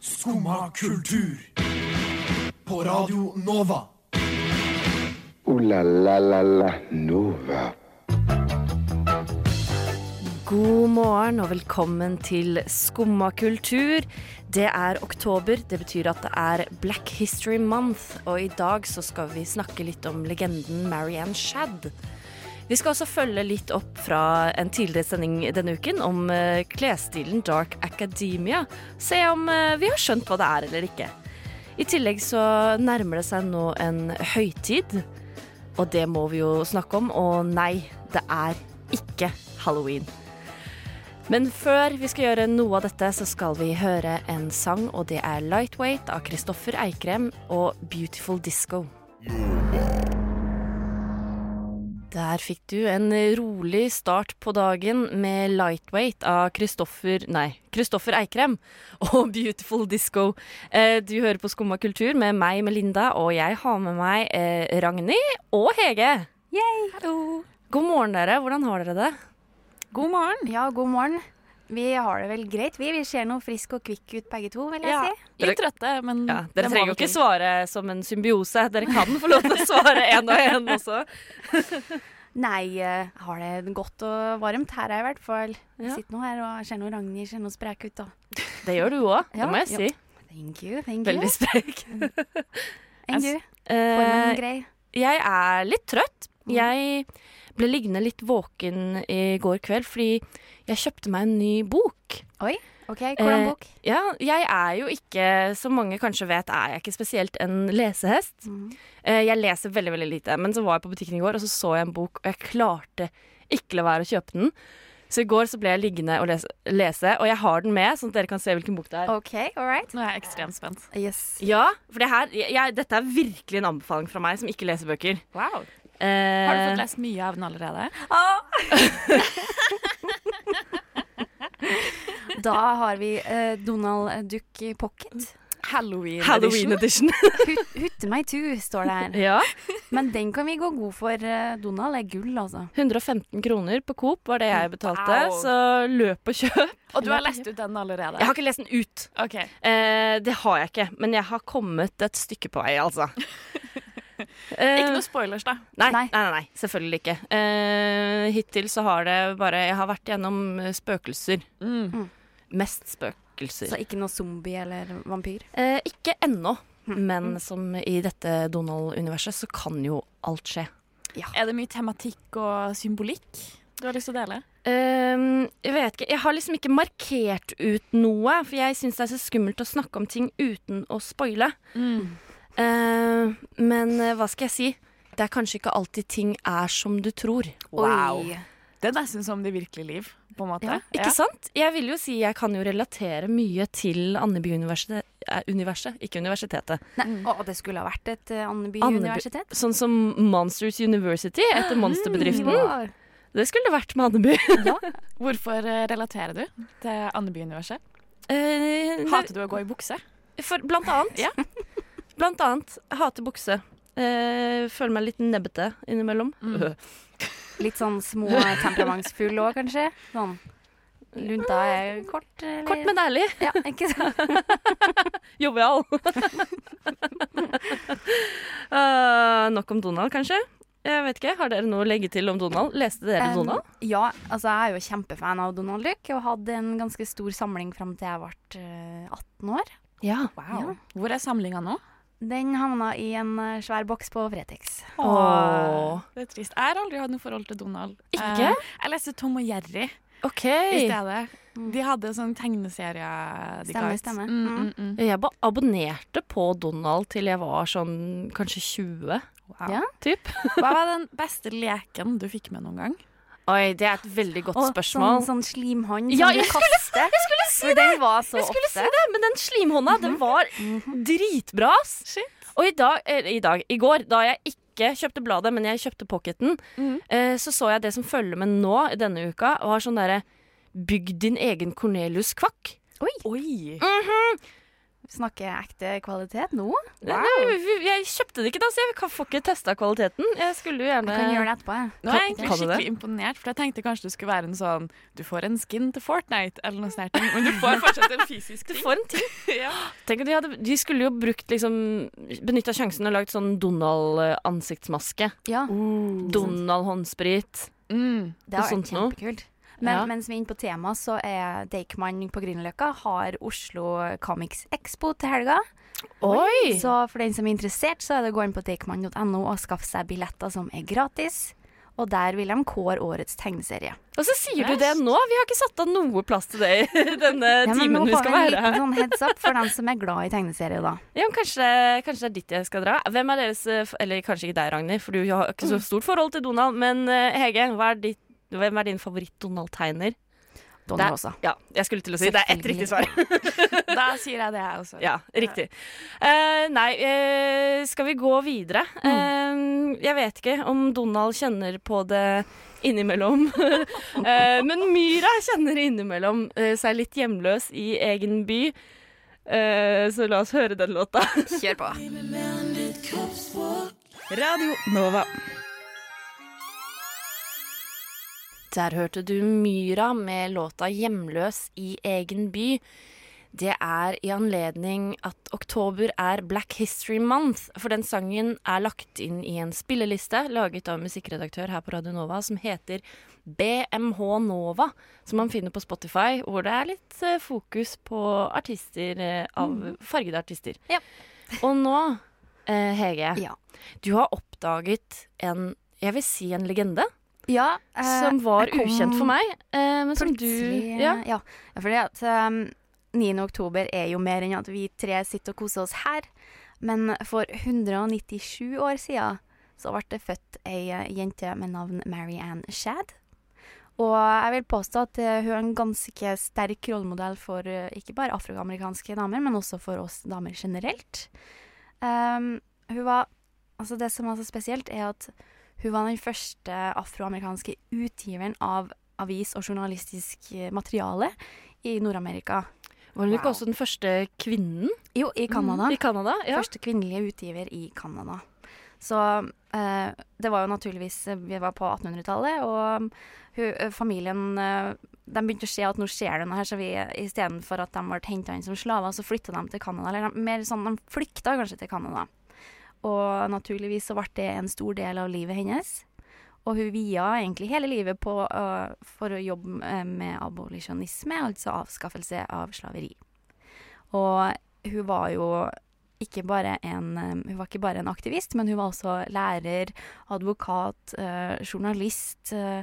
Skumma kultur. På Radio Nova. Ooh la la la la Nova. God morgen og velkommen til Skumma kultur. Det er oktober, det betyr at det er Black History Month, og i dag så skal vi snakke litt om legenden Marianne Shad. Vi skal også følge litt opp fra en tidligere sending denne uken om eh, klesstilen Dark Academia. Se om eh, vi har skjønt hva det er eller ikke. I tillegg så nærmer det seg nå en høytid. Og det må vi jo snakke om. Og nei, det er ikke halloween. Men før vi skal gjøre noe av dette, så skal vi høre en sang, og det er 'Lightweight' av Kristoffer Eikrem og 'Beautiful Disco'. Der fikk du en rolig start på dagen med 'Lightweight' av Kristoffer Nei, Kristoffer Eikrem og 'Beautiful Disco'. Eh, Du hører på Skumma kultur med meg, Melinda, og jeg har med meg eh, Ragnhild og Hege. God morgen, dere. Hvordan har dere det? God morgen. Ja, god morgen. Vi har det vel greit, vi. Vi ser noe frisk og kvikk ut begge to, vil jeg Ja, si. litt trøtte, men Ja, det dere må trenger jo vi ikke til. svare som en symbiose. Dere kan få lov til å svare én og én også. Nei, eh, har det godt og varmt her er jeg i hvert fall. Ja. Sitter nå her og ser noe Ragnhild ser noe sprek ut, da. Det gjør du òg, det Ja, må jeg si. Thank you, thank Veldig sprek. you. Enn du? Eh, Formen grei? jeg er litt trøtt. Jeg ble liggende litt våken i går kveld fordi jeg kjøpte meg en ny bok. Oi, OK. Hvordan eh, bok? Ja, jeg er jo ikke, som mange kanskje vet, er jeg ikke spesielt en lesehest. Eh, Jeg leser veldig, veldig lite, men så var jeg på butikken i går, og så så jeg en bok, og jeg klarte ikke la være å kjøpe den. Så i går så ble jeg liggende og lese, lese og jeg har den med, sånn at dere kan se hvilken bok det er. OK, all right. Nå er jeg ekstremt spent. Yes. Ja, for det her, jeg, jeg, dette er virkelig en anbefaling fra meg som ikke leser bøker. Wow. Eh, Har du fått lest mye av den allerede? Ah! Da har vi eh, Donald Duck i pocket. Halloween, Halloween edition. edition. Hut, hutte meg tu, står det her. ja. Men den kan vi gå god for. eh, Donald er gull, altså. 115 kroner på Coop var det jeg betalte, Wow. så løp og kjøp. Og du har lest ut den allerede? Jeg har ikke lest den ut. Ok. Eh, det har jeg ikke, men jeg har kommet et stykke på vei, altså. Eh, Ikke noe spoilers, da. nei, nei, Nei. nei, nei, selvfølgelig ikke. Eh, hittil så har det bare Jeg har vært gjennom eh, spøkelser. Mm. Mest spøkelser. Så ikke noe zombie eller vampyr. Eh, ikke ennå, Hm. men som i dette Donald-universet, så kan jo alt skje. Er det mye tematikk og symbolikk du har lyst til å dele? Ehm, jeg vet ikke. Jeg har liksom ikke markert ut noe, for jeg syns det er så skummelt å snakke om ting uten å spoile. Ehm, men eh, hva skal jeg si? Det er kanskje ikke alltid ting er som du tror. Oi. Det er nesten som det virkelige liv, på en måte. Ja, ikke sant? Jeg vil jo si jeg kan jo relatere mye til Andeby-universet. eh, Universet, ikke universitetet. Nei, å, det skulle ha vært et eh, Mm. Andeby Andeby- universitet. Mm. Sånn som Monsters University etter Monsterbedriften. Wow. Det skulle det vært med Andeby. Hvorfor eh, relaterer du til Andeby-universet? Eh, det- Hater du å gå i bukse? For, blant annet. Ja. Blant annet. Hater bukse. Eh, føler meg litt nebbete innimellom. Litt sånn små temperamentsfull òg, kanskje. Sånn. Lunta er kort, eller? Kort, men ærlig. Ja, ikke sant? Jovial. Eh, nok om Donald, kanskje? Jeg vet ikke, Har dere noe å legge til om Donald? Leste dere Donald? Um, ja, altså jeg er jo kjempefan av Donald Duck, og hadde en ganske stor samling fram til jeg ble eh, 18 år. Ja. Wow. Hvor er samlinga nå? Den havna i en eh, svær boks på Fretex. Åh. Det er trist. Jeg har aldri hatt noe forhold til Donald. Ikke? Eh, Jeg leste Tom og Jerry. OK. i Ja, stedet. De hadde sånn tegneserie. de Stemmer, ga ut. stemmer. Mm, mm, mm. Jeg ba- abonnerte på Donald til jeg var sånn kanskje 20, Wow. Ja. typ. Hva var den beste leken du fikk med noen gang? Oi, det er et veldig godt Og spørsmål. Sånn, sånn slimhånd Ja, som jeg du kaster. Jeg skulle si For den var så Jeg skulle ofte. si det, men den slimhånda, den var dritbra. ass. Shit. Og i dag, eller i dag, i går, da jeg ikke kjøpte bladet, men jeg kjøpte pocketen, eh, så så jeg det som følger med nå i denne uka, og har sånn derre Bygg din egen Cornelius Kvakk. Oi! Snakker ekte kvalitet nå. Nei, vi- vi- jeg kjøpte det ikke, da, så jeg kan- får ikke testa kvaliteten. Jeg skulle jo Jeg kan gjøre gjerne det etterpå. Jeg. Nå er Kan- jeg kan egentlig du det? skikkelig imponert, for jeg tenkte kanskje du skulle være en sånn Du får en skin til Fortnite, eller noe sånt. her, Men du får fortsatt en fysisk Du ting. får en ting. Ja. Tenk at de, hadde, de skulle jo brukt liksom Benytta sjansen og lagd sånn Donald-ansiktsmaske. Ja, Donald-håndsprit. Mm. det noe har vært sånt nå. kjempekult. Men Ja. mens vi er inne på temaet, så er Deichman på Grünerløkka har Oslo Comics Expo til helga. Oi! Så for den som er interessert, så er det å gå inn på deichman.no og skaffe seg billetter som er gratis. Og der vil de kåre årets tegneserie. Og så sier du det nå! Vi har ikke satt av noe plass til det i denne Ja, men timen må vi få skal en være liten her. sånn heads up for den som er glad i tegneserier, da. Ja, men kanskje, kanskje det er dit jeg skal dra. Hvem er deres eh, f- Eller kanskje ikke deg, Ragnhild, for du har Mm. ikke så stort forhold til Donald. Men eh, Hege, hva er ditt, hvem er din favoritt-Donald-tegner? Donald Det- også. Ja, jeg skulle til å si det er ett riktig svar. Da sier jeg det, jeg også. Ja, riktig. Eh, nei, eh, skal vi gå videre? Eh, jeg vet ikke om Donald kjenner på det innimellom. Eh, men Myra kjenner innimellom eh, seg litt hjemløs i egen by. Eh, så la oss høre den låta. Kjør på. Radio Nova. Der hørte du Myra med låta 'Hjemløs i egen by'. Det er i anledning at oktober er Black History Month, for den sangen er lagt inn i en spilleliste laget av en musikkredaktør her på Radio Nova som heter BMH Nova, som man finner på Spotify, hvor det er litt eh, fokus på artister eh, av fargede artister. Mm. Ja. Og nå, eh, Hege, Ja. du har oppdaget en, jeg vil si en legende Ja, eh, som var ukjent for meg, eh, men som du Plutselig, ja. ja. ja fordi at um, 9. oktober er jo mer enn at vi tre sitter og koser oss her. Men for 197 år siden så ble det født ei eh, jente med navn Mary Ann Shad. Og jeg vil påstå at eh, hun er en ganske sterk rollemodell for eh, ikke bare afroamerikanske damer, men også for oss damer generelt. Um, hun var, altså det som er så spesielt, er at hun var den første afroamerikanske utgiveren av avis og journalistisk eh, materiale i Nord-Amerika. Var hun ikke også den første kvinnen Jo, i Canada. i Canada? Ja. Første kvinnelige utgiver i Canada. Så eh, det var jo naturligvis eh, Vi var på 1800-tallet, og hu, eh, familien eh, De begynte å se at nå skjer det noe her, så vi eh, istedenfor at de ble henta inn som slaver, så flytta de til Canada. Eller de, mer sånn, de flykta kanskje til Canada. Og naturligvis så ble det en stor del av livet hennes. Og hun via egentlig hele livet på, eh, for å jobbe eh, med abolisjonisme, altså avskaffelse av slaveri. Og hun var jo ikke bare en, eh, hun var ikke bare en aktivist, men hun var også lærer, advokat, eh, journalist eh,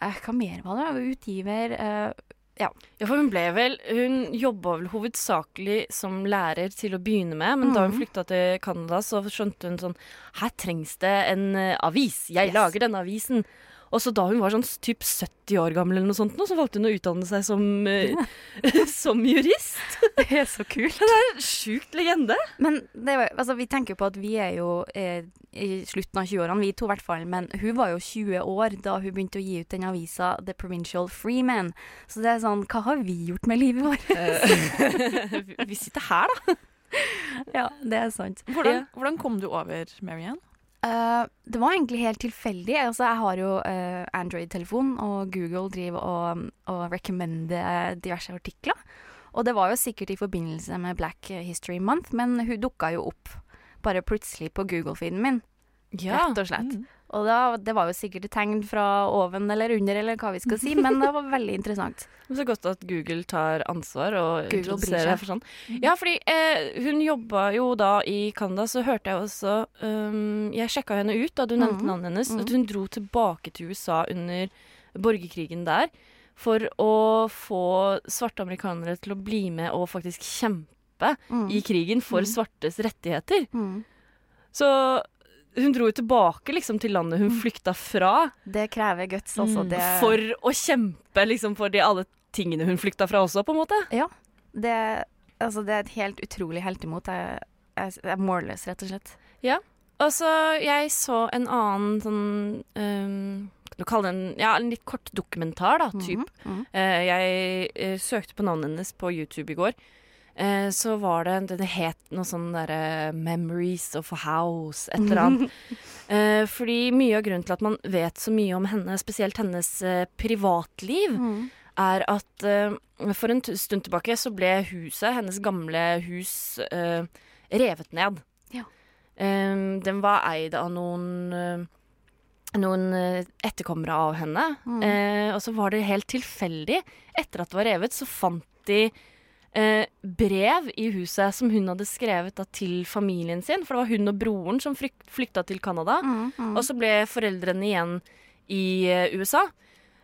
eh, Hva mer var det? Hun var Utgiver. eh, ja, for hun ble vel Hun jobba vel hovedsakelig som lærer til å begynne med, men da hun flykta til Canada, så skjønte hun sånn Her trengs det en eh, avis! Jeg Yes. lager denne avisen! Og så da hun var sånn typ 70 år gammel, eller noe sånt, nå, så valgte hun å utdanne seg som, eh, som jurist. det er så kult! Sjukt legende. Men det var, altså, vi tenker jo på at vi er jo eh, i slutten av 20-årene, vi to i hvert fall. Men hun var jo 20 år da hun begynte å gi ut den avisa The Provincial Freeman. Så det er sånn, hva har vi gjort med livet vårt? Eh, Vi- Vi sitter her, da. ja, det er sant. Hvordan, hvordan kom du over Marianne? Eh, det var egentlig helt tilfeldig. Altså, jeg har jo eh, Android-telefon, og Google driver og, og recommender eh, diverse artikler. Og det var jo sikkert i forbindelse med Black History Month, men hun dukka jo opp bare plutselig på Google-feeden min, rett og slett. mm. Og da, det var jo sikkert et tegn fra oven eller under, eller hva vi skal si, men det var veldig interessant. Men Så godt at Google tar ansvar og Google introduserer bryr seg. Mhm. det for sånn. Ja, fordi eh, hun jobba jo da i Canada, så hørte jeg også um, Jeg sjekka henne ut da du nevnte Mhm. navnet hennes. Mhm. At hun dro tilbake til USA under borgerkrigen der for å få svarte amerikanere til å bli med og faktisk kjempe Mm. i krigen for Mhm. svartes rettigheter. Mm. Så hun dro jo tilbake liksom til landet hun Mhm. flykta fra, Det krever guts, altså. Det, Mm, for å kjempe liksom for de alle tingene hun flykta fra også, på en måte. det, altså, det er et helt utrolig heltemot. Jeg, jeg, jeg er målløs, rett og slett. Og så jeg så en annen sånn ehm, Kan du kalle det en, ja, en litt kort dokumentar, da, typ. Mhm. Mhm. Eh, jeg eh, søkte på navnet hennes på YouTube i går. eh, så var det en- Det het noe sånn derre 'Memories of a House', et eller annet. Eh, fordi mye av grunnen til at man vet så mye om henne, spesielt hennes eh, privatliv, Mhm. er at eh, for en t- stund tilbake så ble huset, hennes gamle hus, eh, revet ned. Ja. Eh, den var eid av noen eh, noen eh, etterkommere av henne. Eh, og så var det helt tilfeldig. Etter at det var revet, så fant de eh, brev i huset som hun hadde skrevet da, til familien sin. For det var hun og broren som frykt, flykta til Canada. Og så ble foreldrene igjen i eh, USA.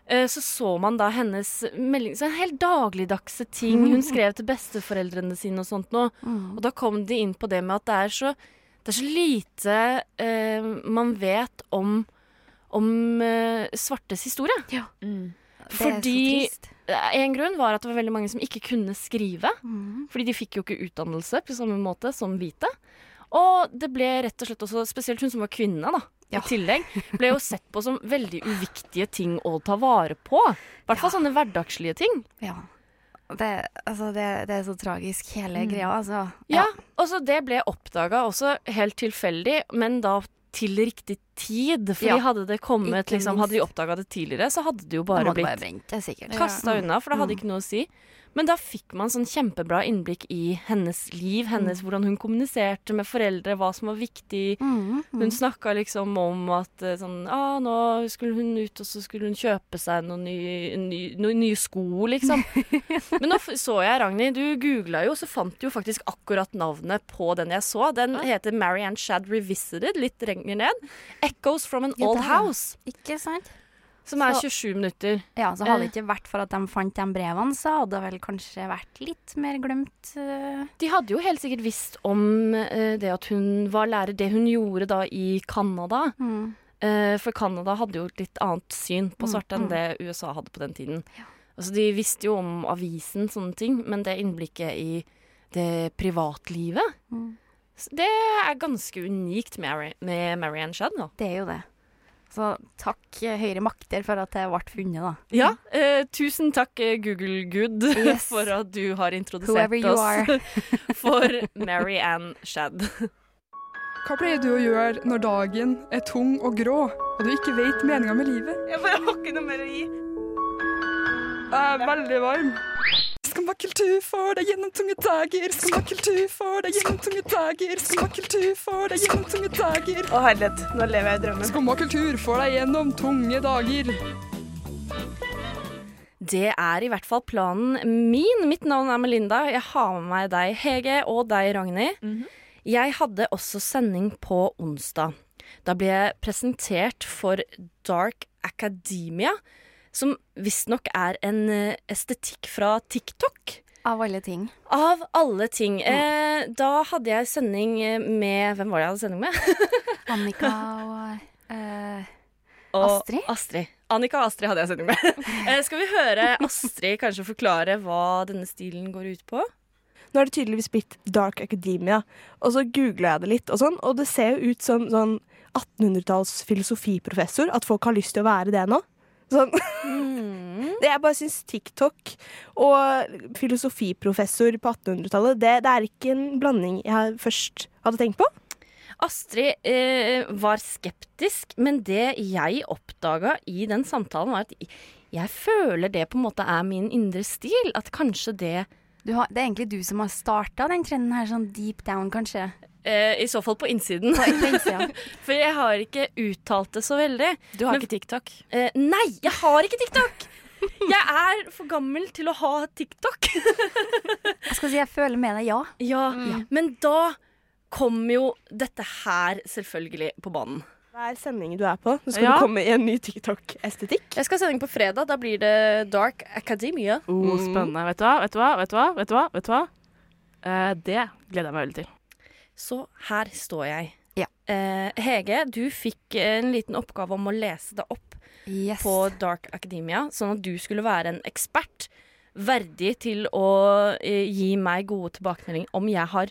Eh, Så så man da hennes melding så Helt dagligdagse ting hun skrev til besteforeldrene sine og sånt noe. Og da kom de inn på det med at det er så, det er så lite eh, man vet om, om eh, svartes historie. Mm. Det er så Fordi- trist. Eh, En grunn var at det var veldig mange som ikke kunne skrive. Mm. Fordi de fikk jo ikke utdannelse på samme måte som hvite. Og det ble rett og slett også, spesielt hun som var kvinne, da, Ja. i tillegg, ble jo sett på som veldig uviktige ting å ta vare på. I hvert fall sånne hverdagslige ting. Ja. Det, altså, det, det er så tragisk, hele greia, altså. Ja, og så det ble oppdaga også helt tilfeldig, men da til riktig tid. Fordi Ja, hadde det kommet, ikke liksom, hadde vi minst. oppdaga det tidligere, så hadde det jo Da bare må det blitt bare Mm. brent, det er sikkert. kasta unna, for det hadde ikke noe å si. Men da fikk man sånn kjempebra innblikk i hennes liv, Mm. hennes, hvordan hun kommuniserte med foreldre, hva som var viktig. Mm. Hun snakka liksom om at eh, sånn ah, nå skulle hun ut, og så skulle hun kjøpe seg noen nye, ny, noen nye sko, liksom. Men nå f- så jeg, Ragnhild, du googla jo, så fant du jo faktisk akkurat navnet på den jeg så. Den heter Marianne Shad Revisited, litt lenger ned. 'Echoes from an Ja, Old der, ja. House', Ikke sant? Eh. som er Så- 27 minutter. Ja, så hadde det ikke vært for at de fant de brevene, så hadde det vel kanskje vært litt mer glemt. eh, De hadde jo helt sikkert visst om eh, det at hun var lærer, det hun gjorde da i Canada. Mm. Eh, for Canada hadde jo et litt annet syn på svarte mm. enn det USA hadde på den tiden. Altså, de visste jo om avisen, sånne ting, men det innblikket i det privatlivet Mm. s- Det er ganske unikt med, Mari- med Marianne Shad. da. Det er jo det. Så takk eh, høyere makter for at det ble funnet, da. Ja, eh, tusen takk, eh, Google-gud, Yes. for at du har Whoever introdusert you oss are. for Marianne Shad. Hva pleier du å gjøre når dagen er tung og grå, og du ikke vet meninga med livet? Jeg bare har ikke noe mer å gi. Jeg er veldig varm. Skummakultur får deg gjennom tunge dager. Skummakultur får deg gjennom tunge dager. Skummakultur får deg gjennom tunge dager. Å herlighet, nå lever jeg i drømmen. Skummakultur får deg gjennom tunge dager. Det er i hvert fall planen min. Mitt navn er Melinda. Jeg har med meg deg, Hege, og deg, Ragnhild. Jeg hadde også sending på onsdag. Da ble jeg presentert for Dark Academia, som visstnok er en eh, estetikk fra TikTok. Av alle ting. Av alle ting. Eh, da hadde jeg sending eh, med Hvem var det jeg hadde sending med? Annika og eh, Og Astrid? Astrid. Annika og Astrid hadde jeg sending med. eh, skal vi høre Astrid kanskje forklare hva denne stilen går ut på? Nå er det tydeligvis blitt Dark Academia, og så googla jeg det litt, og sånn, og det ser jo ut som sånn 1800-talls filosofiprofessor, at folk har lyst til å være det nå. Sånn. Det jeg bare syns TikTok og filosofiprofessor på 1800-tallet, det, det er ikke en blanding jeg først hadde tenkt på. Astrid eh, var skeptisk, men det jeg oppdaga i den samtalen, var at jeg føler det på en måte er min indre stil. At kanskje det Du har, det er egentlig du som har starta den trenden her, sånn deep down, kanskje. eh, I så fall på innsiden. På innsida. For jeg har ikke uttalt det så veldig. Du har Men- ikke TikTok. Eh, nei, jeg har ikke TikTok! Jeg er for gammel til å ha TikTok. Jeg skal si jeg føler med deg, ja. Ja, Mm. Men da kom jo dette her selvfølgelig på banen. Hver sending du er på, nå skal Ja. du komme i en ny TikTok-estetikk. Jeg skal ha sending på fredag. Da blir det Dark Academia. Oh, spennende. Vet du hva? Vet du hva? Vet du hva? Vet du hva? Vet du hva? Eh, det gleder jeg meg veldig til. Så her står jeg. Ja. Eh, Hege, du fikk en liten oppgave om å lese deg opp Yes. på Dark Academia, sånn at du skulle være en ekspert verdig til å eh, gi meg gode tilbakemeldinger om jeg har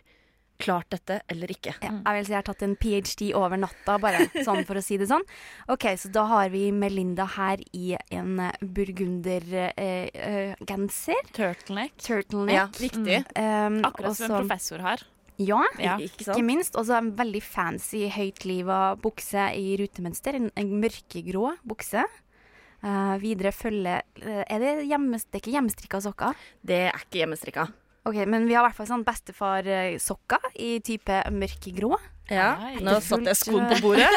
klart dette eller ikke. Ja, jeg vil si jeg har tatt en ph.d. over natta, bare sånn for å si det sånn. Ok, så da har vi Melinda her i en burgundergenser. Eh, eh, genser. Turtleneck. turtleneck. Ja, Mm. riktig. Um, Akkurat som en professor har. Ja, Ja. Ikke ikke sant? minst. Og så en veldig fancy, høytliva bukse i rutemønster. En, en mørkegrå bukse. Eh, videre følger Er det, hjemmes, det er ikke hjemmestrikka sokker? Det er ikke hjemmestrikka. Ok, Men vi har i hvert fall sånn bestefarsokker i type mørkegrå. Ja. Nei. Nå satte jeg skoen på bordet.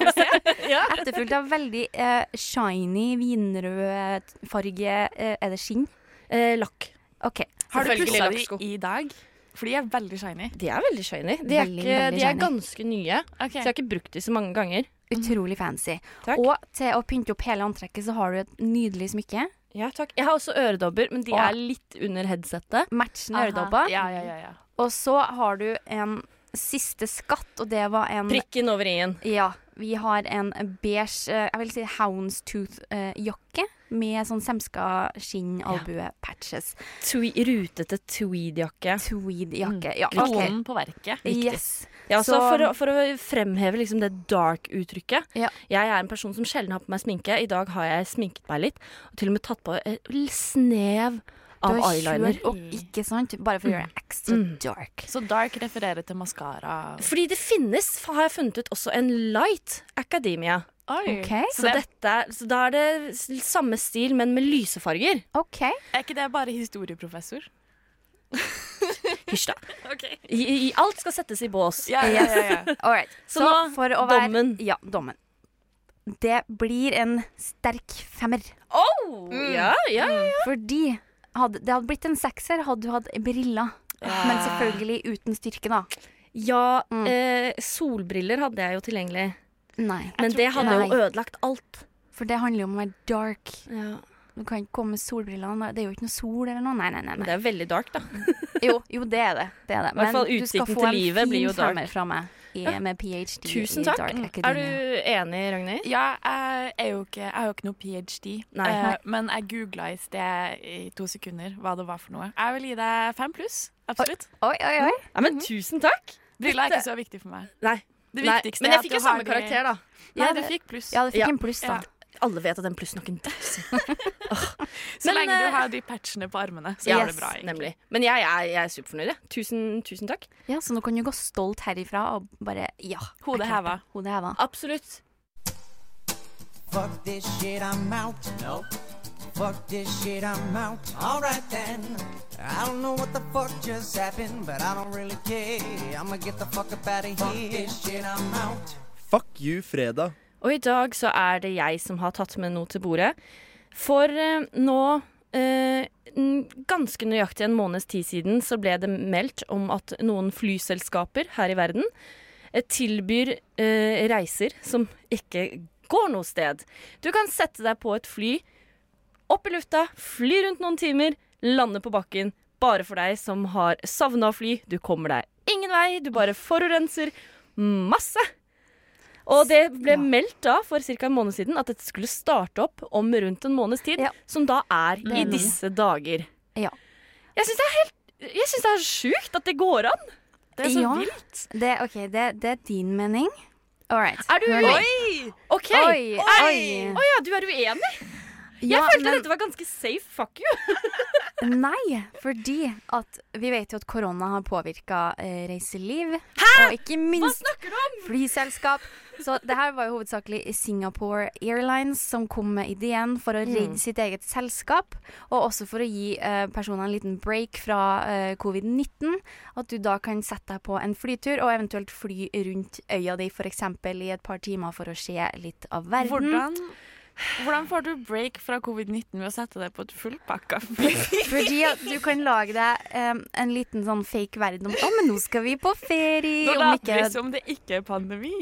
Etterfulgt av veldig eh, shiny, vinrød farge eh, Er det skinn? Eh, lakk. OK. Har du Selvfølgelig pussa lakksko. de i dag? For de er veldig shiny. De er veldig shiny. De er, Veldig, ikke, veldig de er shiny. ganske nye, så jeg har ikke brukt de så mange ganger. Utrolig fancy. Takk. Og til å pynte opp hele antrekket, så har du et nydelig smykke. Ja, takk. Jeg har også øredobber, men de Å. er litt under headsetet. Matchende Aha. øredobber. Ja, ja, ja, ja. Og så har du en siste skatt, og det var en Prikken over i-en. Ja. Vi har en beige, eh, jeg vil si houndstooth-jakke med sånn semska skinn-albue-patches. Twee, rutete tweedjakke. Tweed-jakke. Ja, OK. Kronen på verket. Yes. Ja, altså Så- for, å, for å fremheve liksom det dark-uttrykket. Ja. Jeg er en person som sjelden har på meg sminke. I dag har jeg sminket meg litt, og til og med tatt på et snev av Du har eyeliner. kjørt Mm. opp, ikke sant? Bare for å gjøre det ekstra dark. Så dark refererer til maskara. Fordi det finnes, fa- har jeg funnet ut, også en light academia. OK. Så, dette, så da er det s- samme stil, men med lyse farger. ok. Er ikke det bare historieprofessor? Hysj, da. I, i, alt skal settes i bås. Ja, ja, ja, ja. All right. Så Så, nå, for å være dommen. Ja, dommen. Det blir en sterk femmer. Mm. Ja, ja, ja. Fordi hadde, det hadde blitt en sekser hadde du hatt briller. Men selvfølgelig uten styrke, da. ja Mm. eh, solbriller hadde jeg jo tilgjengelig. Nei. Men det hadde Nei. jo ødelagt alt. For det handler jo om å være dark. Ja. Du kan ikke komme med solbrillene. Det er jo ikke noe sol eller noe. Nei, nei, nei. Men nei. det er veldig dark, da. Jo, jo, det er det. det, er det. hvert fall du skal utsikten få til en livet blir jo fin dark. femmer fra meg i, med ph.d. Tusen i takk. Dark Er du Academia. enig, Ragnhild? ja jeg, er jo ikke, jeg har jo ikke noe ph.d., Nei. Eh, men jeg googla i sted i to sekunder hva det var for noe. Jeg vil gi deg fem pluss. Absolutt. Oi, oi, oi. Ja, men tusen takk! Briller er ikke så viktig for meg. Nei. Det Nei. viktigste Men er jeg at fikk jo du har samme de- karakter, da. Ja, Ja, du det- fikk pluss. Ja, du fikk Ja. en pluss, da. Ja. Alle vet at den plussen har ikke en daus. Så Men, lenge eh, du har de patchene på armene, så Ja, går det bra. egentlig. nemlig. Men jeg, er- jeg er superfornøyd. jeg. Tusen, tusen takk. Ja, Så nå kan du gå stolt herifra og bare Ja. jeg Hodet klarte heva. det. Hodet heva. Absolutt. Fuck this shit, I'm out. Nope. Fuck this shit, I'm out. Alright then. I don't know what the fuck just happened, but I don't really care. I'ma get the fuck up out of here. Fuck this shit, I'm out. Fuck you, fredag. Og i dag så er det jeg som har tatt med noe til bordet. For eh, nå eh, n- Ganske nøyaktig en måneds tid siden så ble det meldt om at noen flyselskaper her i verden eh, tilbyr eh, reiser som ikke går noe sted. Du kan sette deg på et fly, opp i lufta, fly rundt noen timer, lande på bakken. Bare for deg som har savna å fly. Du kommer deg ingen vei, du bare forurenser masse. Og det ble Ja. meldt da for ca. en måned siden at dette skulle starte opp om rundt en måneds tid, Ja. som da er i er lenge. disse dager. Ja. Jeg syns det er helt Jeg synes det er sjukt at det går an. Det er så Ja. vilt. Det, ok, det, det er din mening. All right. Er du Hør nå. OK. Oi, Er- oi. Å ja, du er uenig? Jeg Ja, følte men- dette var ganske safe. Fuck you. Nei, fordi at vi vet jo at korona har påvirka eh, reiseliv. Og ikke minst snakker du om? flyselskap. Så det her var jo hovedsakelig Singapore Airlines som kom med ideen for Mm. å redde sitt eget selskap. Og også for å gi eh, personer en liten break fra eh, covid-19. At du da kan sette deg på en flytur og eventuelt fly rundt øya di f.eks. i et par timer for å se litt av verden. Hvordan, hvordan får du break fra covid-19 ved å sette deg på et fullpakka fly? Fordi at du kan lage deg em, en liten sånn fake verden om Å, men nå skal vi på ferie! Nå om later ikke vi som det ikke er pandemi.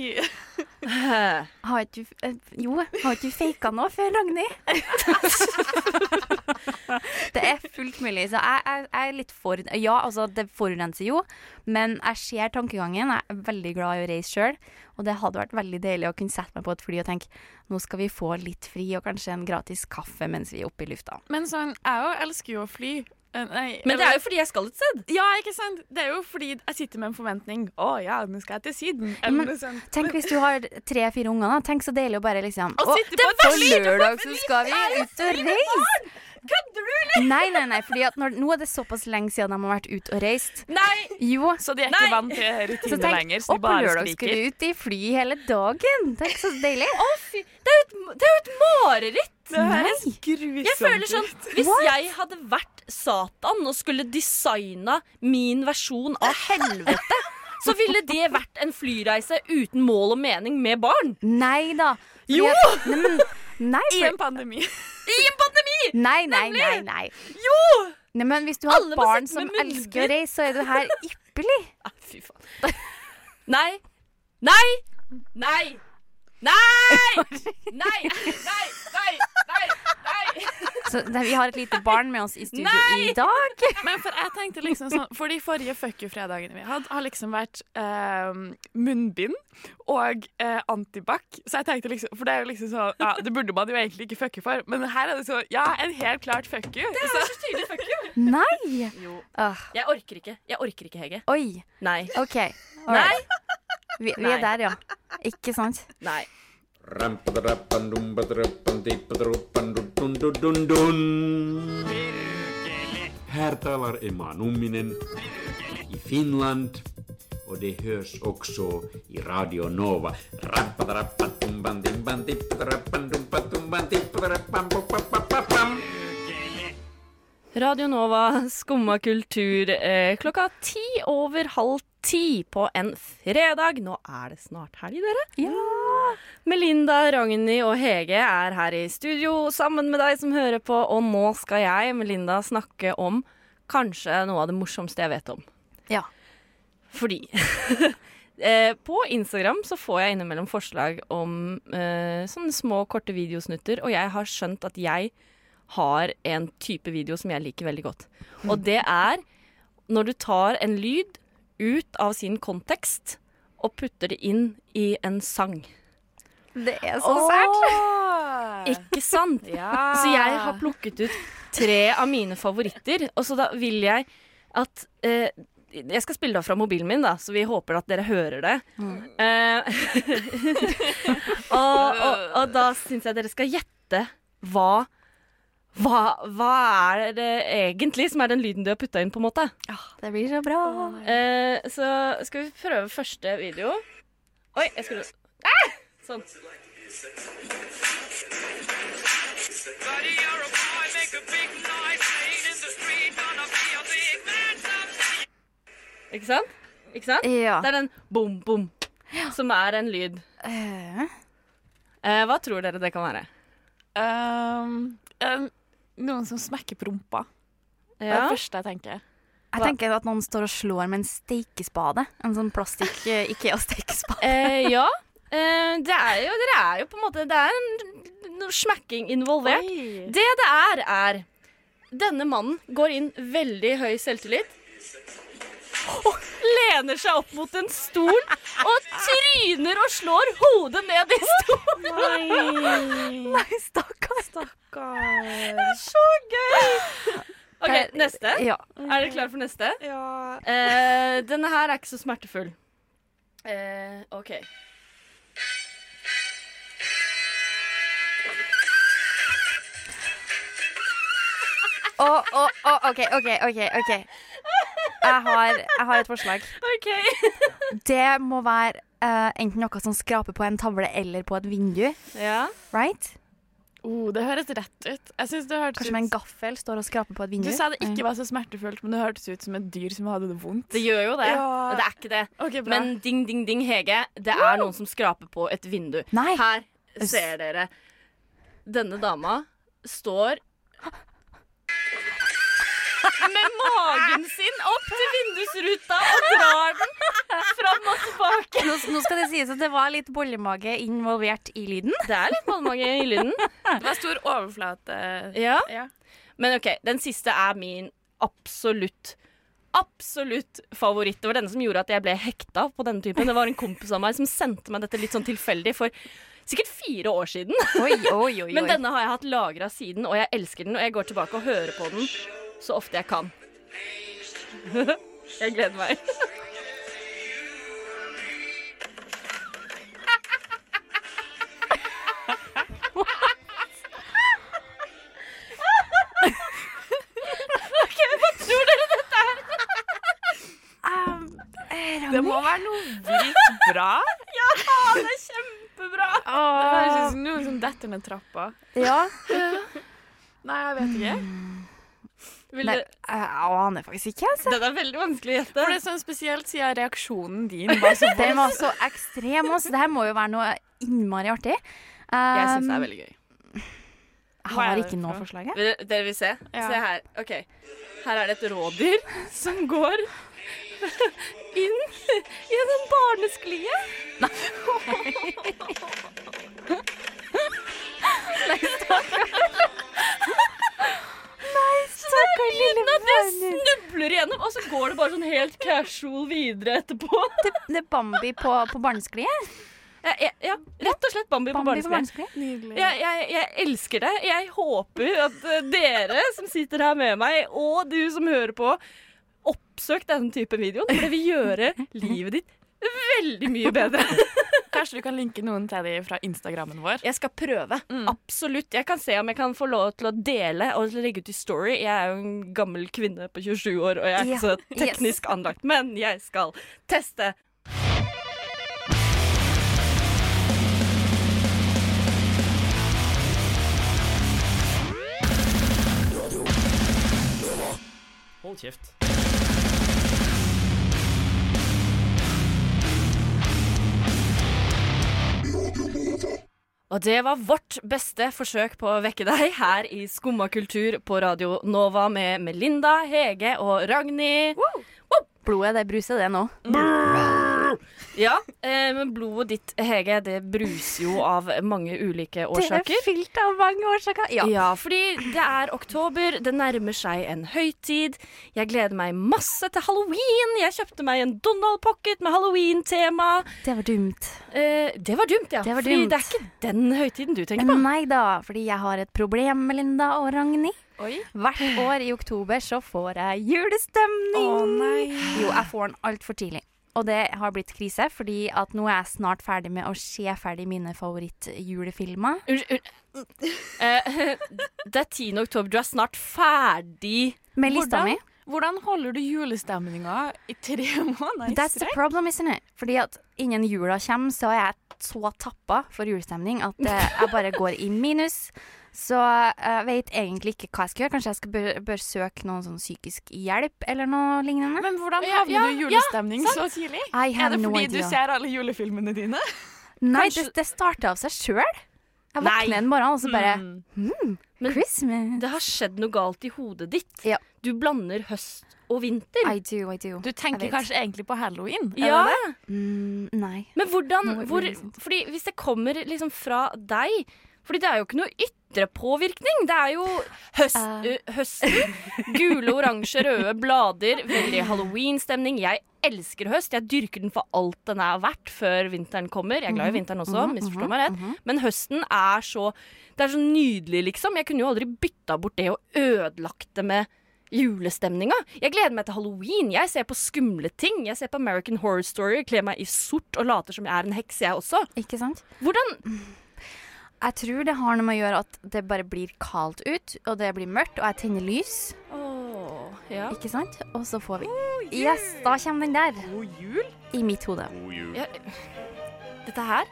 Har ikke du eh, Jo, har ikke du faka noe før, Ragnhild? det er fullt mulig. Så jeg, jeg, jeg er litt for Ja, altså, det forurenser jo, men jeg ser tankegangen. Jeg er veldig glad i å reise sjøl, og det hadde vært veldig deilig å kunne sette meg på et fly og tenke nå skal vi få litt fri og kanskje en gratis kaffe mens vi er oppe i lufta. Men sånn, jeg òg elsker jo å fly. Eh, Nei, Men det er jo fordi jeg skal et sted. Ja, ikke sant? Det er jo fordi jeg sitter med en forventning. Å ja, nå skal jeg til Syden. men- Eller sånn. Tenk hvis du har tre-fire unger, da. Tenk så deilig å bare liksom Å, «Å, sitte på det et på fly, du får lørdag så skal vi ut og reise! Kødder du, eller?! Nei, nei, nei. Fordi at når, nå er det såpass lenge siden de har vært ute og reist. Nei! Jo. Så de er ikke vant til denne Så rutinen tenk, lenger, så og de på bare lørdag skal skriker. vi ut i fly hele dagen. Tenk så deilig. Å, fy. Det er jo et, det er jo et mareritt! Det høres grusomt Jeg føler sånn, ut. Hvis jeg hadde vært Satan og skulle designa min versjon av helvete, så ville det vært en flyreise uten mål og mening med barn. Nei da. Fordi Jo! at- Nei, men, nei, I for, en pandemi. I en pandemi! nei, nei, nei, nei. Jo! Nei, men hvis du har Alle må barn sitte som med elsker å munnbind. reise, så er du her ypperlig. Nei, fy faen. Nei. Nei. Nei. Nei! Nei! Nei! Nei! Nei! Nei! Så nei, vi har et lite barn med oss i studio Nei! i dag. Men for jeg tenkte liksom sånn For de forrige fuck you-fredagene vi hadde, har liksom vært eh, munnbind og eh, antibac. Så jeg tenkte liksom For det er jo liksom sånn Ja, det burde man jo egentlig ikke fucke for, men her er det sånn Ja, en helt klart fuck you. Så, Så tydelig fuck you. Nei! Åh, Jeg orker ikke. Jeg orker ikke, Hege. oi. Nei. OK. all Nei. right. Vi, vi er Nei. der, ja. Ikke sant? Nei. Här talar Emma Numminen i Finland och det hörs också i Radio Nova. Radio Nova skumma kultur eh, klokka ti over halv ti på en fredag. Nå er det snart helg, dere. Melinda, Ragnhild og Hege er her i studio sammen med deg som hører på, og nå skal jeg, Melinda, snakke om kanskje noe av det morsomste jeg vet om. Ja. Fordi eh, på Instagram så får jeg innimellom forslag om eh, sånne små, korte videosnutter, og jeg har skjønt at jeg har en type video som jeg liker veldig godt. Og det er når du tar en lyd ut av sin kontekst og putter det inn i en sang. Det er så sært. Ikke sant? Så jeg har plukket ut tre av mine favoritter, og så da vil jeg at eh, jeg skal spille det av fra mobilen min, da, så vi håper at dere hører det. Mm. Eh, og, og, og da syns jeg dere skal gjette hva, hva Hva er det egentlig som er den lyden du har putta inn, på en måte? Det blir så bra. Eh, så skal vi prøve første video. Oi, jeg skulle ah! Sånn. Ikke sant? Ikke sant? Ja. Det er den bom, bom, som er en lyd. Eh, Eh, hva tror dere det kan være? Ehm, en- noen som smekker på rumpa. Det er Ja. det første jeg tenker. Jeg tenker at noen står og slår med en steikespade. En sånn plastikk eh, Ikea-steikespade. Eh, ja. Eh, det er jo, dere er jo på en måte Det er en- noe smacking involvert. Oi. Det det er, er Denne mannen går inn veldig høy selvtillit. Og lener seg opp mot en stol og tryner og slår hodet ned i stolen. Nei, stakkars. Så gøy! OK, neste. Ja. Er dere klare for neste? Ja. Eh, denne her er ikke så smertefull. Eh, OK. Å, å, å, OK, OK, OK. ok jeg har, jeg har et forslag. OK. Det må være eh, enten noe som skraper på en tavle eller på et vindu. Ja. Right? Oh, det høres rett ut. Jeg synes det hørtes Kanskje med en ut gaffel står og skraper på et vindu. Du sa det ikke var så smertefullt, men det hørtes ut som et dyr som hadde det vondt. Det gjør jo det. Ja. Det er ikke det. Ok, bra. Men ding, ding, ding, Hege, det er noen som skraper på et vindu. Nei. Her ser dere. Denne dama står med magen sin opp til vindusruta og drar den fram og tilbake. Nå, nå skal det sies at det var litt bollemage involvert i lyden. Det er litt båndmage i lyden. Det var stor overflate. Ja. Ja. Men OK, den siste er min absolutt Absolutt favoritt. Det var denne som gjorde at jeg ble hekta på denne typen. Det var en kompis av meg som sendte meg dette litt sånn tilfeldig for sikkert fire år siden. Oi, oi, oi, Men denne har jeg hatt lagra siden, og jeg elsker den. Og jeg går tilbake og hører på den så ofte jeg kan. Jeg gleder meg. Det må være noe vilt bra. Det høres ut som noen som detter ned trappa. Ja. Nei, jeg vet ikke. Vil Nei, eh, du, jeg aner faktisk ikke. Altså. den er veldig vanskelig å For gjette. det er sånn spesielt siden reaksjonen din var så Den var så ekstrem. Altså. Det her må jo være noe innmari artig. Jeg syns det er veldig gøy. Jeg Hva er har det ikke for noe noe? forslag. jeg. Dere, dere vil se? Ja. Se her. OK. Her er det et rådyr som går inn gjennom barnesklie. Stakkars lille barnet. Snubler igjennom, og så går det bare sånn helt casual videre etterpå. Det, det er Bambi på, på barneskliet. Ja, ja, ja, rett og slett Bambi på Bambi på barnesklie. barneskliet. Nydelig. Jeg, jeg, jeg elsker det. Jeg håper at eh, dere som sitter her med meg, og du som hører på, oppsøk denne type videoen, for det vil gjøre livet ditt veldig mye bedre. Kanskje du kan linke noen til de fra Instagrammen vår? Jeg skal prøve. Absolutt. Jeg kan se om jeg kan få lov til å dele og legge ut i Story. Jeg er jo en gammel kvinne på 27 år, og jeg er ikke Ja. så teknisk anlagt, men jeg skal teste. Hold kjeft. Og det var vårt beste forsøk på å vekke deg her i Skumma kultur på Radio Nova med Melinda, Hege og Ragnhild. Blodet, det bruset, det nå. Ja, eh, men blodet ditt, Hege, det bruser jo av mange ulike Det er årsaker. fylt av mange årsaker. Ja. Ja, fordi det er oktober, det nærmer seg en høytid. Jeg gleder meg masse til halloween. Jeg kjøpte meg en Donald Pocket med halloween-tema. Det var dumt. Eh, det var dumt, ja. Det var Fordi dumt. det er ikke den høytiden du tenker på. Nei da, fordi jeg har et problem, Melinda og Ragnhild. Oi. Hvert år i oktober så får jeg julestemning. Jo, jeg får den altfor tidlig. Og det har blitt krise, fordi at nå er jeg snart ferdig med å se ferdig mine favorittjulefilmer. Unnskyld. Eh, det er 10. oktober, du er snart ferdig. Med lista mi. Hvordan? Hvordan holder du julestemninga i tre måneder i That's the strekk? problem, isn't it? Fordi at innen jula kommer, så er jeg så tappa for julestemning at eh, jeg bare går i minus. Så jeg vet egentlig ikke hva jeg skal gjøre. Kanskje jeg skal bør, bør søke noen sånn psykisk hjelp eller noe lignende? Men hvordan Ja, havner ja, du i julestemning så tidlig? I Er have det no fordi du idea. ser alle julefilmene dine? Nei, Kanskje- det, det starter av seg sjøl. Jeg Nei. våkner en morgen og så bare Mm. hmm, Men- Christmas. Det har skjedd noe galt i hodet ditt. Ja. Du blander høst og vinter. I do, I do. Du tenker Jeg vet. kanskje egentlig på halloween? er Ja. det det? Mm, nei. Men hvordan Noe hvor, ulysint. fordi Hvis det kommer liksom fra deg Fordi det er jo ikke noe ytre påvirkning. Det er jo høst, Eh. ø, høsten. Gule, oransje, røde blader. Veldig halloweenstemning. Jeg elsker høst. Jeg dyrker den for alt den er verdt før vinteren kommer. Jeg er glad i vinteren også, misforstå meg rett. Men høsten er så Det er så nydelig, liksom. Jeg kunne jo aldri bytta bort det og ødelagt det med julestemninga. Jeg gleder meg til halloween. Jeg ser på skumle ting. Jeg ser på American Horror Story, kler meg i sort og later som jeg er en heks, jeg også. Ikke sant? Hvordan Jeg tror det har noe med å gjøre at det bare blir kaldt ut, og det blir mørkt, og jeg tenner lys, Åh, ja. ikke sant? Og så får vi Yes, da kommer den der. I mitt hode. Dette her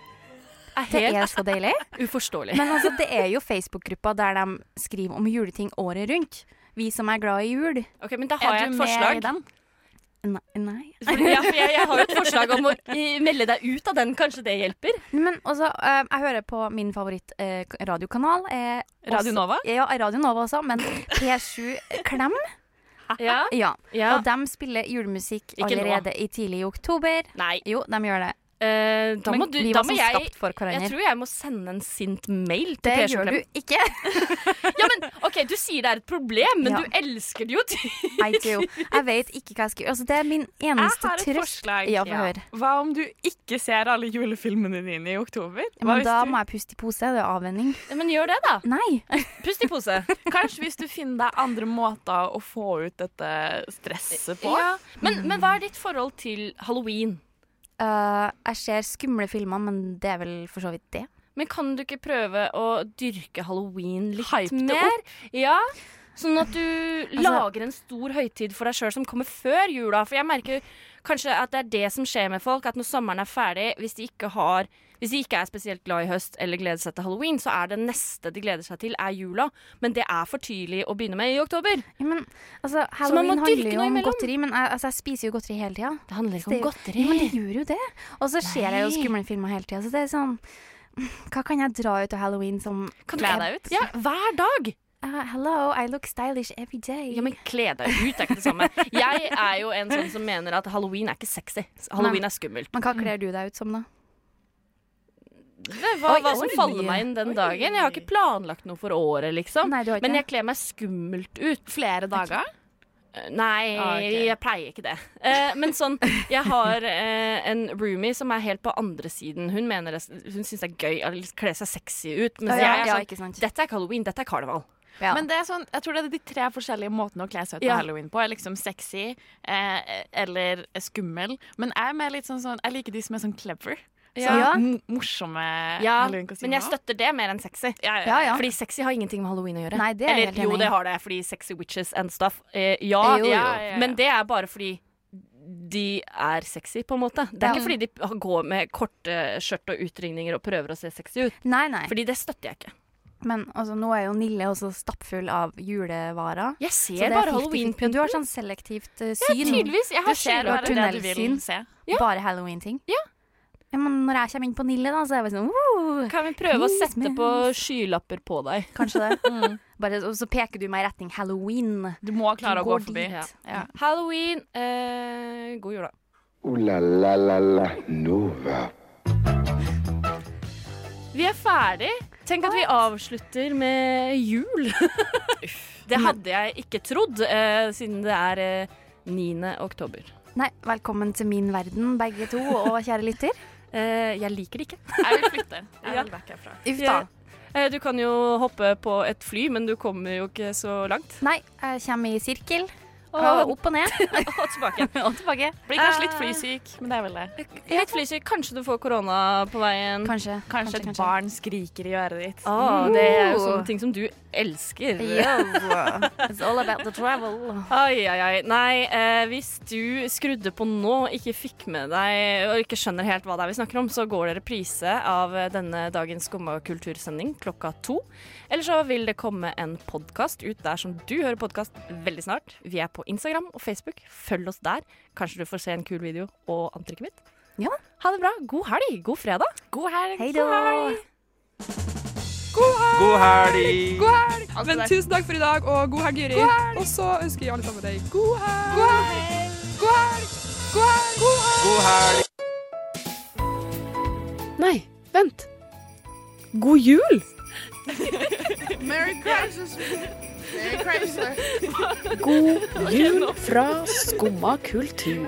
er Det helt er så deilig. uforståelig. Men altså, det er jo Facebook-gruppa der de skriver om juleting året rundt. Vi som er glad i jul. Ok, Men da har jeg et forslag. den? Nei. nei. Fordi- Ja, for jeg, jeg har jo et forslag om å eh, melde deg ut av den. Kanskje det hjelper? Men også, eh, jeg hører på min favoritt-radiokanal. Eh, Radio Nova? Ja, Radio Nova også, men P7 Klem. Ja. Ja. ja. Og de spiller julemusikk Ikke nå. allerede i tidlig i oktober. Nei. Jo, de gjør det. Eh, da Men må du, vi da var må som jeg, skapt for hverandre. jeg tror jeg må sende en sint mail til Det P-skjorten. gjør du ikke. Ja, men OK, du sier det er et problem, men Ja. du elsker det jo. til- I do. Jeg vet ikke hva jeg skal gjøre. Altså, det er min eneste har et trøst. forslag. Ja, få høre. Hva om du ikke ser alle julefilmene dine i oktober? Hva Men hvis da du, må jeg puste i pose. Det er avvenning. Ja, Men gjør det, da. Nei. Pust i pose. Kanskje hvis du finner deg andre måter å få ut dette stresset på? Ja. Men, men hva er ditt forhold til halloween? Eh, jeg ser skumle filmer, men det er vel for så vidt det. Men kan du ikke prøve å dyrke halloween litt Hype det mer? Ja, Sånn at du Altså- lager en stor høytid for deg sjøl som kommer før jula. For jeg merker kanskje at det er det som skjer med folk, at når sommeren er ferdig, hvis de ikke har hvis de ikke er spesielt glad i høst eller gleder seg til halloween, så er det neste de gleder seg til, er jula. Men det er for tidlig å begynne med i oktober. Ja, men, altså, man må Halloween handler dyrke jo noe om imellom. godteri, men jeg, altså, jeg spiser jo godteri hele tida. Det handler ikke Det er om jo- godteri. Men det gjør jo det. Og så ser jeg jo Nei. skumle filmer hele tida. Så det er sånn Hva kan jeg dra ut av halloween som Kan Kle du- deg ut? Ja, hver dag. Eh, Hello, I look stylish every day. Ja, men kle deg ut er ikke det samme. Jeg er jo en sånn som mener at halloween er ikke sexy. Halloween er skummelt. Men hva kler du deg ut som, da? Det var Oi, hva som oi. faller meg inn den dagen. Jeg har ikke planlagt noe for året, liksom. Nei, du har ikke Men det. jeg kler meg skummelt ut. Eh, Flere dager? Nei, Ah, ok. jeg pleier ikke det. Eh, men sånn, jeg har eh, en roomie som er helt på andre siden. Hun, mener det, hun syns det er gøy å kle seg sexy ut. Mens ja, jeg ja, er ikke sånn sant. Dette er ikke halloween, dette er karneval. Ja. Men det er sånn, jeg tror det er de tre forskjellige måtene å kle seg ut på Ja. halloween på. Er liksom sexy eh, eller skummel. Men jeg er mer litt sånn, sånn Jeg liker de som er sånn clever. Sånn Ja. m- morsomme Ja, halloweenkostymer. men jeg støtter det mer enn sexy. Ja, ja. Fordi sexy har ingenting med halloween å gjøre. Nei, det er jeg Eller helt jo, enig det i. har det, fordi sexy witches and stuff. Eh, ja, Jo, jo. ja, Ja, ja, ja. men det er bare fordi de er sexy, på en måte. Det er Ja. ikke fordi de p- går med korte skjørt og utringninger og prøver å se sexy ut. Nei, nei. Fordi det støtter jeg ikke. Men altså, nå er jo Nille også stappfull av julevarer. Jeg Så det ser er bare 50-50. halloween-pynten. Du har sånn selektivt eh, syn. Tydeligvis. Jeg Du har ser skjegg og bare det du vil tunnelsyn. se. Ja. Bare halloween-ting. Ja. Ja, men når jeg kommer inn på Nille, da, så er jeg bare sånn «Woo!» Kan vi prøve å Please, sette på skylapper på deg? Kanskje det. Mm. Bare, og så peker du meg i retning halloween. Du må klare å gå går forbi. dit. Ja. Ja. Halloween. Eh, god jul, da. Ooh la la la la Nova. Vi er ferdig. Tenk at vi avslutter med jul. det hadde jeg ikke trodd, eh, siden det er eh, 9. oktober. Nei, velkommen til min verden, begge to, og kjære lytter. Eh, jeg liker det ikke. Jeg vil flytte. Jeg Ja. vil vekk herfra. Uff da. Eh, du kan jo hoppe på et fly, men du kommer jo ikke så langt. Nei, jeg kommer i sirkel. Og Og opp og ned. og tilbake. og tilbake. Blir kanskje litt flysyk, men det er vel det. Litt flysyk. Kanskje du får korona på veien. Kanskje. Kanskje et barn skriker i øret ditt. Ah, det er jo Uh. sånne ting som du elsker. Yo, it's all about the travel. Ai, ai, ai. Nei, eh, hvis du skrudde på nå og ikke fikk med deg og ikke skjønner helt hva det er vi snakker om, så går det reprise av eh, denne dagens Skumma kultursending klokka to. Eller så vil det komme en podkast ut der som du hører podkast veldig snart. Vi er på Instagram og Facebook. Følg oss der. Kanskje du får se en kul video og antrekket mitt. Ja. Ha det bra. God helg. God fredag. God helg. Hei da. God helg! God helg! Altså, Men tusen takk for i dag, og god helg, Juri. Og så ønsker jeg alle sammen deg god helg! God helg! God helg! God helg! God helg! Nei, vent. God jul! God jul fra Skumma kultur.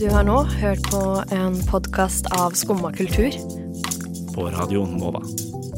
Du har nå hørt på en podkast av Skumma kultur. På Radio Nova.